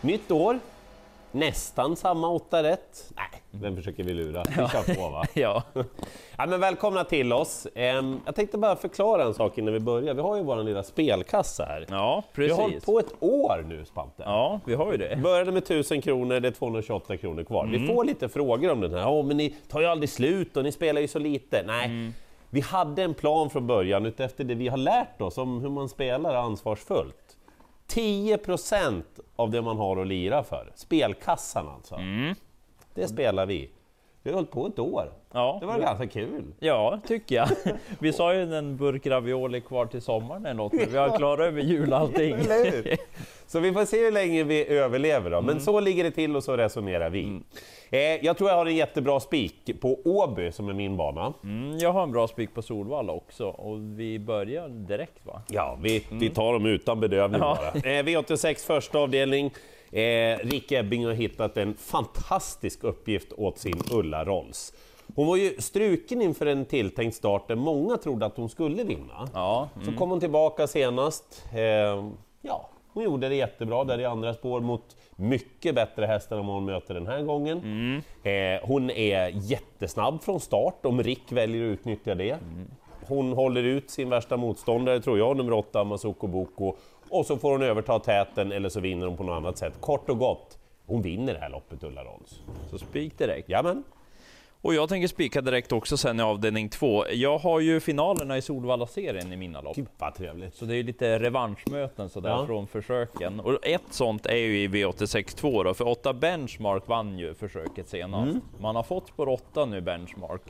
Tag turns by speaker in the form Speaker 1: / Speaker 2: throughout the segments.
Speaker 1: Nytt år, nästan samma åtta rätt. Nej, vem försöker vi lura? Vi kör på va?
Speaker 2: Ja.
Speaker 1: Ja, men välkomna till oss! Ehm, Jag tänkte bara förklara en sak innan vi börjar. Vi har ju vår lilla spelkassa här.
Speaker 2: ja,
Speaker 1: vi har hållit
Speaker 2: precis.
Speaker 1: på ett år nu, Spante.
Speaker 2: Ja, vi har ju det.
Speaker 1: Började med 1000 kronor, det är 228 kronor kvar. Vi får lite frågor om den här. Åh, men ni tar ju aldrig slut och ni spelar ju så lite. Nej, vi hade en plan från början utefter det vi har lärt oss om hur man spelar ansvarsfullt. 10% av det man har att lira för, spelkassan alltså. Det spelar vi. Vi har hållit på ett år.
Speaker 2: Ja.
Speaker 1: Det var ganska kul.
Speaker 2: Ja, tycker jag. Vi sa ju en burk ravioli kvar till sommaren eller något, men vi har klarat över jul och allting.
Speaker 1: Eller hur? Så vi får se hur länge vi överlever då. Men
Speaker 2: Mm.
Speaker 1: så ligger det till och så resonerar vi. Eh, jag tror jag har en jättebra spik på Åby som är min bana.
Speaker 2: Mm, jag har en bra spik på Solvalla också och vi börjar direkt va?
Speaker 1: Ja, vi, vi tar dem utan bedövning
Speaker 2: Mm. Ja.
Speaker 1: bara. Eh, V86 första avdelning. Eh, Rick Ebbing har hittat en fantastisk uppgift åt sin Ulla Rolls. Hon var ju struken inför en tilltänkt start där många trodde att hon skulle vinna.
Speaker 2: Ja,
Speaker 1: Så kom hon tillbaka senast. Eh, ja, hon gjorde det jättebra där i andra spår mot mycket bättre hästar än vad hon möter den här gången. Eh, hon är jättesnabb från start om Rick väljer att utnyttja det. Hon håller ut sin värsta motståndare, tror jag, nummer 8, Masoko Boko. Och så får hon överta täten eller så vinner hon på något annat sätt. Kort och gott, hon vinner det här loppet, Ulla Rolls.
Speaker 2: så spik direkt.
Speaker 1: Jajamän!
Speaker 2: Och jag tänker spika direkt också sen i avdelning två. Jag har ju finalerna i Solvalla-serien i mina lopp.
Speaker 1: Gud vad trevligt!
Speaker 2: Så det är ju lite revanschmöten sådär
Speaker 1: Ja.
Speaker 2: från försöken. Och ett sånt är ju i V86.2 då, för 8 Benchmark vann ju försöket senast. Man har fått spår 8 nu, Benchmark.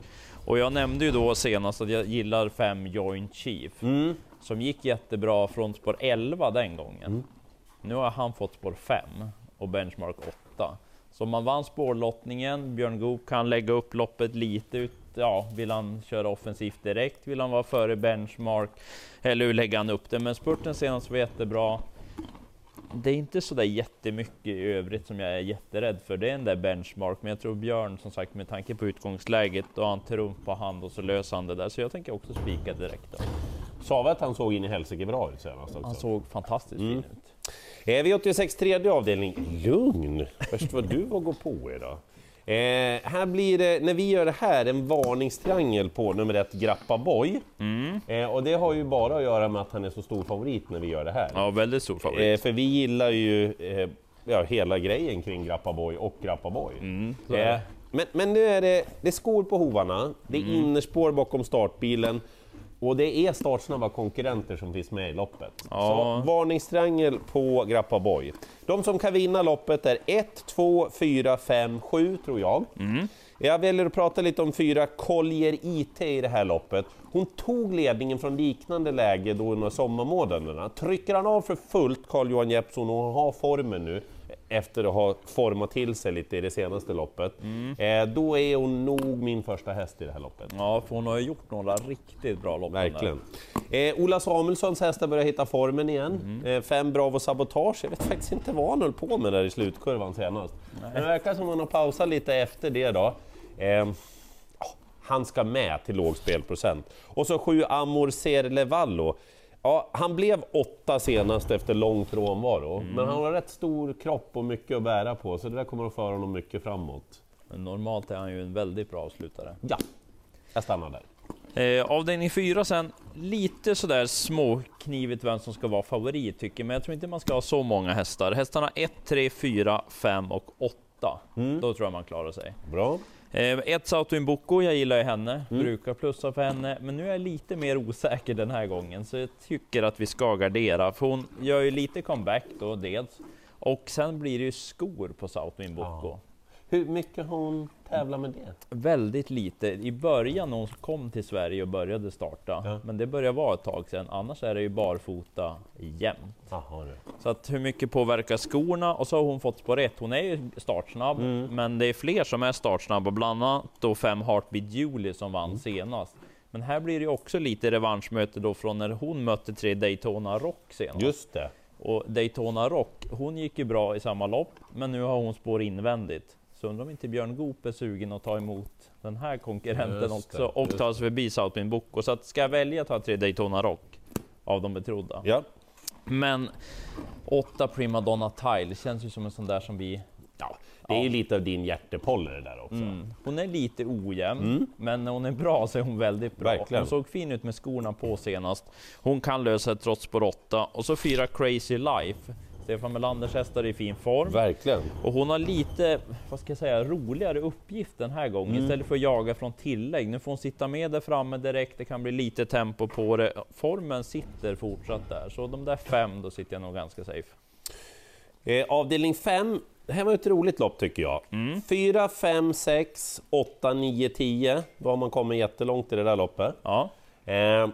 Speaker 2: Och jag nämnde ju då senast att jag gillar 5 Joint Chief, som gick jättebra från spår 11 den gången. Nu har han fått spår 5 och Benchmark 8. Så man vann spårlottningen, Björn Goop kan lägga upp loppet lite ut. Ja, vill han köra offensivt direkt? Vill han vara före benchmark? Eller hur lägger han upp det? Men spurten senast var jättebra. Det är inte sådär jättemycket i övrigt som jag är jätterädd för. Det är den där benchmark, men jag tror Björn som sagt med tanke på utgångsläget, då har han trumf på hand och så löser han det där. Så jag tänker också spika direkt. Då.
Speaker 1: Sa vi att han såg in i helsike bra ut senast också?
Speaker 2: Han såg fantastiskt fin ut.
Speaker 1: Eh, V86 tredje avdelning. Lugn! Först vad du var gå på idag. Eh, här blir det, när vi gör det här, en varningstriangel på nummer ett Grappa Boy.
Speaker 2: Mm.
Speaker 1: Eh, och det har ju bara att göra med att han är så stor favorit när vi gör det här.
Speaker 2: Ja, väldigt stor favorit.
Speaker 1: Eh, för vi gillar ju eh, ja, hela grejen kring Grappa Boy och Grappa Boy.
Speaker 2: Mm, så är det. Mm.
Speaker 1: Eh, men, men nu är det, det är skor på hovarna, det är innerspår bakom startbilen och det är startsnabba konkurrenter som finns med i loppet.
Speaker 2: Ja.
Speaker 1: Så varningstriangel på Grappa Boy. De som kan vinna loppet är 1, 2, 4, 5, 7 tror jag. Jag väljer att prata lite om fyra Collier IT i det här loppet. Hon tog ledningen från liknande läge då under sommarmånaderna. Trycker han av för fullt, Carl-Johan Jeppsson, och hon har formen nu efter att ha format till sig lite i det senaste loppet, eh, då är hon nog min första häst i det här loppet.
Speaker 2: Ja, för hon har ju gjort några riktigt bra lopp.
Speaker 1: Verkligen. Eh, Ola Samuelssons hästar börjar hitta formen igen. Eh, fem Bravo Sabotage, jag vet faktiskt inte vad han höll på med där i slutkurvan senast. Men det verkar som att han har pausat lite efter det då. Eh, ja, han ska med till låg spelprocent. Och så sju Amor Serlevallo. Ja, han blev åtta senast efter lång frånvaro, men han har rätt stor kropp och mycket att bära på, så det där kommer att föra honom mycket framåt.
Speaker 2: Men normalt är han ju en väldigt bra avslutare.
Speaker 1: Ja, jag stannar där.
Speaker 2: Eh, avdelning fyra sen, lite sådär småknivigt vem som ska vara favorit tycker jag, men jag tror inte man ska ha så många hästar. Hästarna 1, 3, 4, 5 och 8. Då tror jag man klarar sig.
Speaker 1: Bra.
Speaker 2: Eh, ett Sauto Imboko, jag gillar ju henne, brukar plussa för henne, men nu är jag lite mer osäker den här gången, så jag tycker att vi ska gardera, för hon gör ju lite comeback då, dels, och sen blir det ju skor på Sauto Imboko.
Speaker 1: Hur mycket har hon tävlat med det?
Speaker 2: Väldigt lite. I början när hon kom till Sverige och började starta,
Speaker 1: Ja.
Speaker 2: men det börjar vara ett tag sedan. Annars är det ju barfota jämt.
Speaker 1: Jaha, du.
Speaker 2: Så att hur mycket påverkar skorna? Och så har hon fått spår rätt. Hon är ju startsnabb, men det är fler som är startsnabba, bland annat då fem Heartbeat Julie som vann senast. Men här blir det ju också lite revanschmöte då från när hon mötte tre Daytona Rock senast.
Speaker 1: Just det.
Speaker 2: Och Daytona Rock, hon gick ju bra i samma lopp, men nu har hon spår invändigt. Så undrar om inte Björn Goop är sugen att ta emot den här konkurrenten
Speaker 1: Just
Speaker 2: också
Speaker 1: det,
Speaker 2: och
Speaker 1: just
Speaker 2: ta sig förbi Southbin Boko. Så att ska jag välja att ta tre Daytona Rock av de betrodda,
Speaker 1: Ja.
Speaker 2: Men 8 Primadonna Tile känns ju som en sån där som vi...
Speaker 1: Ja, Mm. det är ju lite av din hjärtepoller det där också.
Speaker 2: Hon är lite ojämn, men när hon är bra så är hon väldigt bra.
Speaker 1: Mm. Verkligen.
Speaker 2: Hon såg fin ut med skorna på senast. Hon kan lösa ett trots på råtta. Och så fyra Crazy Life. Stefan Melanders hästar är i fin form.
Speaker 1: Verkligen.
Speaker 2: Och hon har lite, vad ska jag säga, roligare uppgift den här gången. Istället för att jaga från tillägg. Nu får hon sitta med där framme direkt, det kan bli lite tempo på det. Formen sitter fortsatt där, så de där fem, då sitter jag nog ganska safe.
Speaker 1: Eh, avdelning 5, det här var ett roligt lopp tycker jag. 4, 5, 6, 8, 9, 10. Då har man kommit jättelångt i det där loppet.
Speaker 2: Ja,
Speaker 1: Eh,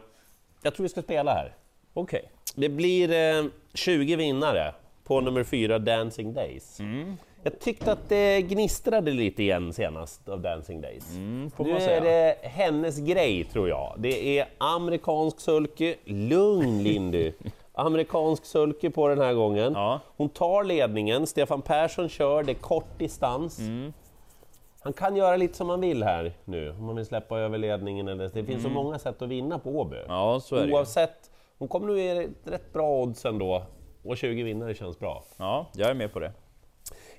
Speaker 1: jag tror vi ska spela här.
Speaker 2: okej.
Speaker 1: Det blir eh, 20 vinnare på nummer 4, Dancing Days.
Speaker 2: Mm.
Speaker 1: Jag tyckte att det gnistrade lite igen senast av Dancing Days.
Speaker 2: Mm, får
Speaker 1: nu
Speaker 2: man
Speaker 1: är
Speaker 2: säga.
Speaker 1: det hennes grej tror jag. Det är amerikansk sulky. Lugn Lindy! amerikansk sulky på den här gången.
Speaker 2: Ja.
Speaker 1: Hon tar ledningen, Stefan Persson kör, det är kort distans.
Speaker 2: Mm.
Speaker 1: Han kan göra lite som han vill här nu, om han vill släppa över ledningen. Eller, det finns så många sätt att vinna på Åby.
Speaker 2: Mm. Ja, så är det ju.
Speaker 1: Oavsett, hon kommer nu i rätt bra odds ändå. Och 20 vinnare känns bra.
Speaker 2: Ja, jag är med på det.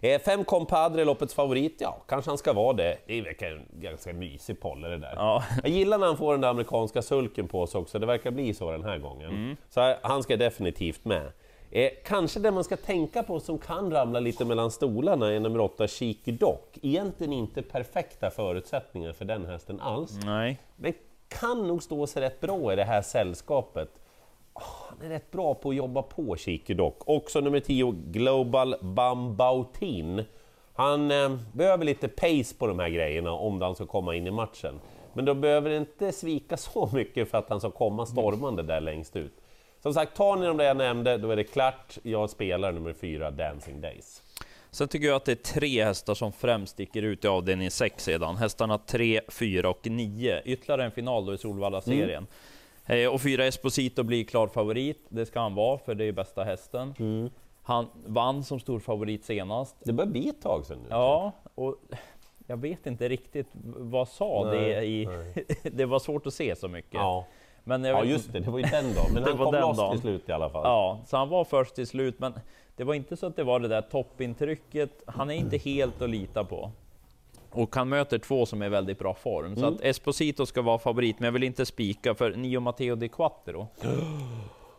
Speaker 1: Eh, fem Compadre, loppets favorit. Ja, kanske han ska vara det. Det verkar en ganska mysig polle det där.
Speaker 2: Ja.
Speaker 1: Jag gillar när han får den där amerikanska sulken på sig också. Det verkar bli så den här gången.
Speaker 2: Mm.
Speaker 1: Så här, han ska definitivt med. Eh, kanske det man ska tänka på som kan ramla lite mellan stolarna är nummer 8, Chic Doc. Egentligen inte perfekta förutsättningar för den hästen alls.
Speaker 2: Nej.
Speaker 1: Men kan nog stå sig rätt bra i det här sällskapet. Åh, han är rätt bra på att jobba på Chiqui dock. Också nummer 10, Global Bambautin. Han eh, behöver lite pace på de här grejerna om han ska komma in i matchen. Men då behöver det inte svika så mycket för att han ska komma stormande där längst ut. Som sagt, tar ni de där jag nämnde, då är det klart. Jag spelar nummer 4, Dancing Days.
Speaker 2: Sen tycker jag att det är tre hästar som främst sticker ut i avdelning 6 sedan. Hästarna 3, 4 och 9. Ytterligare en final då i Solvalla-serien.
Speaker 1: Mm.
Speaker 2: Eh, och 4 Esposito blir klar favorit. Det ska han vara, för det är bästa hästen.
Speaker 1: Mm.
Speaker 2: Han vann som stor favorit senast.
Speaker 1: Det börjar bli ett tag sedan nu.
Speaker 2: Ja, och jag vet inte riktigt vad sa det i... det var svårt att se så mycket.
Speaker 1: ja.
Speaker 2: Men jag
Speaker 1: ja,
Speaker 2: vet-
Speaker 1: just det. Det var ju den dagen. Men
Speaker 2: Det
Speaker 1: han
Speaker 2: var
Speaker 1: kom
Speaker 2: den
Speaker 1: loss
Speaker 2: dagen.
Speaker 1: till slut i alla fall.
Speaker 2: Ja, så han var först till slut, men det var inte så att det var det där toppintrycket. Han är inte helt att lita på. Och han möter två som är i väldigt bra form. Så att Esposito ska vara favorit, men jag vill inte spika för Nio Matteo Di Quattro.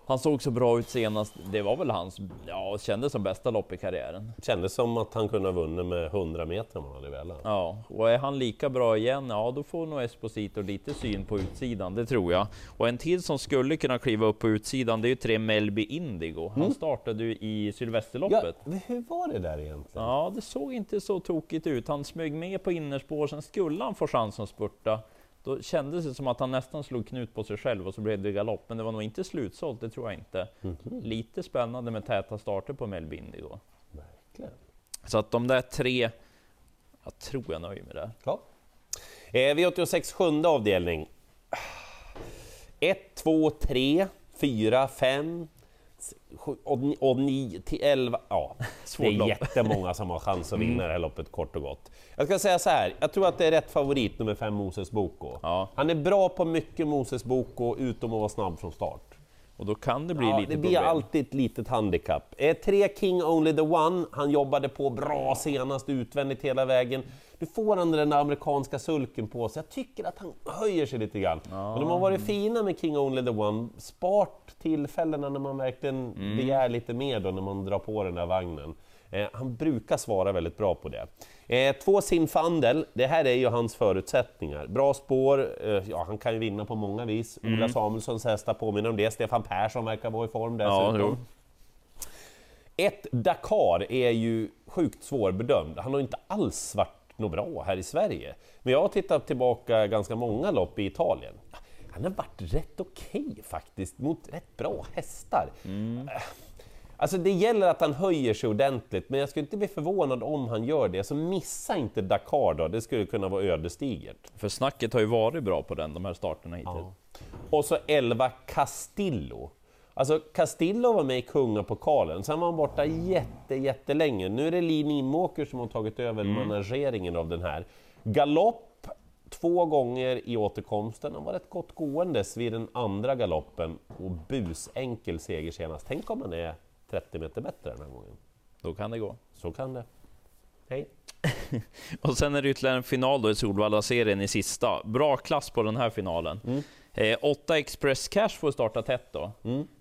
Speaker 2: Han såg så bra ut senast. Det var väl hans, ja, kändes som bästa lopp i karriären.
Speaker 1: Kändes som att han kunde ha vunnit med 100 meter om han hade velat.
Speaker 2: Ja, och är han lika bra igen, ja då får nog Esposito lite syn på utsidan, det tror jag. Och en till som skulle kunna kliva upp på utsidan, det är ju tre Melby Indigo. Han startade ju i Sylvesterloppet. Ja.
Speaker 1: hur var det där egentligen?
Speaker 2: det såg inte så tokigt ut. Han smög med på innerspår, sen skulle han få chansen att spurta. Då kändes det som att han nästan slog knut på sig själv och så blev det galopp, men det var nog inte slutsålt, det tror jag inte. Lite spännande med täta starter på Melby Indigo.
Speaker 1: Verkligen.
Speaker 2: Så att de där tre, jag tror jag nöjer mig där.
Speaker 1: Ja. Eh, V86 sjunde avdelning. 1, 2, 3, 4, 5, 9 till 11. Ja, det
Speaker 2: Svårt
Speaker 1: är
Speaker 2: lopp.
Speaker 1: jättemånga som har chans att vinna det här loppet kort och gott. Jag ska säga så här, jag tror att det är rätt favorit nummer 5, Moses Boko.
Speaker 2: Ja.
Speaker 1: Han är bra på mycket Moses Boko, utom att vara snabb från start.
Speaker 2: Och då kan det bli
Speaker 1: ja,
Speaker 2: lite
Speaker 1: det blir
Speaker 2: problem.
Speaker 1: alltid ett litet handikapp. Eh, tre King Only the One, han jobbade på bra senast, utvändigt hela vägen. Nu får han den där amerikanska sulken på sig. Jag tycker att han höjer sig lite grann. Men de har varit fina med King Only the One, spart tillfällena när man verkligen begär lite mer då, när man drar på den där vagnen. Eh, han brukar svara väldigt bra på det. Eh, två Sinfandel, det här är ju hans förutsättningar. Bra spår, eh, ja han kan ju vinna på många vis. Ola Samuelssons hästar påminner om det, Stefan Persson verkar vara i form
Speaker 2: Ja,
Speaker 1: dessutom.
Speaker 2: jo.
Speaker 1: Ett Dakar är ju sjukt svårbedömd. Han har ju inte alls varit något bra här i Sverige. Men jag har tittat tillbaka ganska många lopp i Italien. Han har varit rätt okej faktiskt, mot rätt bra hästar.
Speaker 2: Mm.
Speaker 1: Alltså det gäller att han höjer sig ordentligt, men jag skulle inte bli förvånad om han gör det. Så missa inte Dakar då, det skulle kunna vara ödesdigert.
Speaker 2: För snacket har ju varit bra på den, de här starterna hittills.
Speaker 1: Och så 11 Castillo. Alltså Castillo var med i Kungapokalen, sen var han borta jätte, jättelänge. Nu är det Lin Imåker som har tagit över manageringen av den här. Galopp två gånger i återkomsten. Han var rätt gott gåendes vid den andra galoppen och busenkel seger senast. Tänk om han är 30 meter bättre den här gången.
Speaker 2: Då kan det gå.
Speaker 1: Så kan det. Hej!
Speaker 2: Och sen är det ytterligare en final då i Solvalla-serien i sista. Bra klass på den här finalen. Eh, 8 Express Cash får starta tätt då.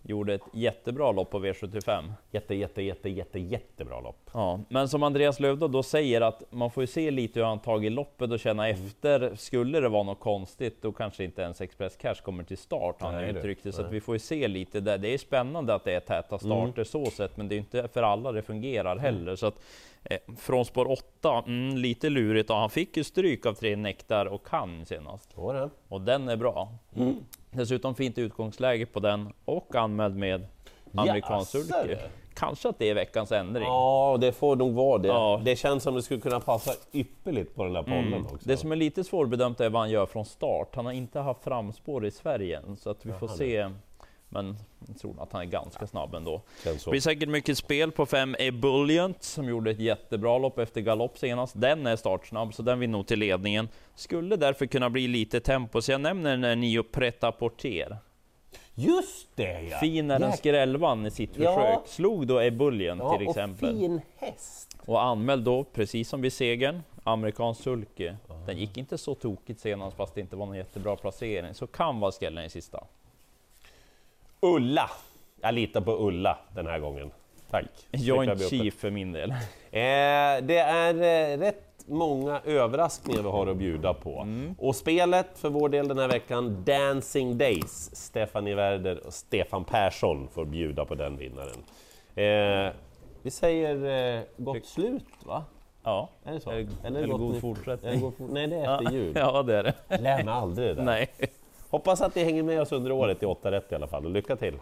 Speaker 2: Gjorde ett jättebra lopp på V75.
Speaker 1: Jätte, jätte, jätte, jätte, jättebra lopp.
Speaker 2: Ja, men som Andreas Löfdahl då säger att man får ju se lite hur han tagit loppet och känna
Speaker 1: Mm.
Speaker 2: efter. Skulle det vara något konstigt då kanske inte ens Express Cash kommer till start. Han
Speaker 1: Nej, Mm.
Speaker 2: Nej,
Speaker 1: du.
Speaker 2: uttryckte så att vi får ju se lite där. Det är spännande att det är täta starter så sett, men det är ju inte för alla det fungerar
Speaker 1: Mm.
Speaker 2: heller. Så att, eh, från spår 8, mm, lite lurigt. Och han fick ju stryk av tre Nektar och kan senast
Speaker 1: Så var det.
Speaker 2: och den är bra.
Speaker 1: Mm.
Speaker 2: Dessutom fint utgångsläge på den och anmäld med amerikansk
Speaker 1: Jaså,
Speaker 2: sulky. Kanske att det är veckans ändring.
Speaker 1: Ja, det får nog vara det.
Speaker 2: Ja. Mm.
Speaker 1: Det känns som det skulle kunna passa ypperligt på den där pollen också.
Speaker 2: Det som är lite svårbedömt är vad han gör från start. Han har inte haft framspår i Sverige än, så att vi får se. Men jag tror att han är ganska snabb ändå.
Speaker 1: Känns så.
Speaker 2: Det blir säkert mycket spel på 5 Ebullient som gjorde ett jättebra lopp efter galopp senast. Den är startsnabb, så den vill nog till ledningen. Skulle därför kunna bli lite tempo, så jag nämner den här 9 Preta Porter.
Speaker 1: Just det ja!
Speaker 2: Fin är den
Speaker 1: Jäk-
Speaker 2: skrällvann i sitt
Speaker 1: Ja.
Speaker 2: försök. Slog då Ebullient
Speaker 1: ja,
Speaker 2: till
Speaker 1: Och
Speaker 2: exempel. Och,
Speaker 1: fin häst!
Speaker 2: anmäld då, precis som vid segern, amerikansk sulke. Den gick inte så tokigt senast fast det inte var någon jättebra placering. Så kan vara skrällen i sista.
Speaker 1: Ulla! Jag litar på Ulla den här gången. Tack!
Speaker 2: Joint
Speaker 1: Slipper jag bli uppe.
Speaker 2: chief för min del.
Speaker 1: Eh, det är eh, rätt många överraskningar vi har att bjuda på.
Speaker 2: Mm.
Speaker 1: Och spelet för vår del den här veckan, Dancing Days. Stefanie Werder och Stefan Persson får bjuda på den vinnaren. Eh, vi säger eh, gott slut va?
Speaker 2: Ja.
Speaker 1: Är det så?
Speaker 2: Eller- eller
Speaker 1: gott
Speaker 2: god
Speaker 1: nytt-
Speaker 2: fortsättning.
Speaker 1: eller god for- Nej, det är efter jul.
Speaker 2: ja, det är det.
Speaker 1: Lär mig aldrig det där.
Speaker 2: Nej.
Speaker 1: Hoppas att ni hänger med oss under året i åtta rätt i alla fall och lycka till!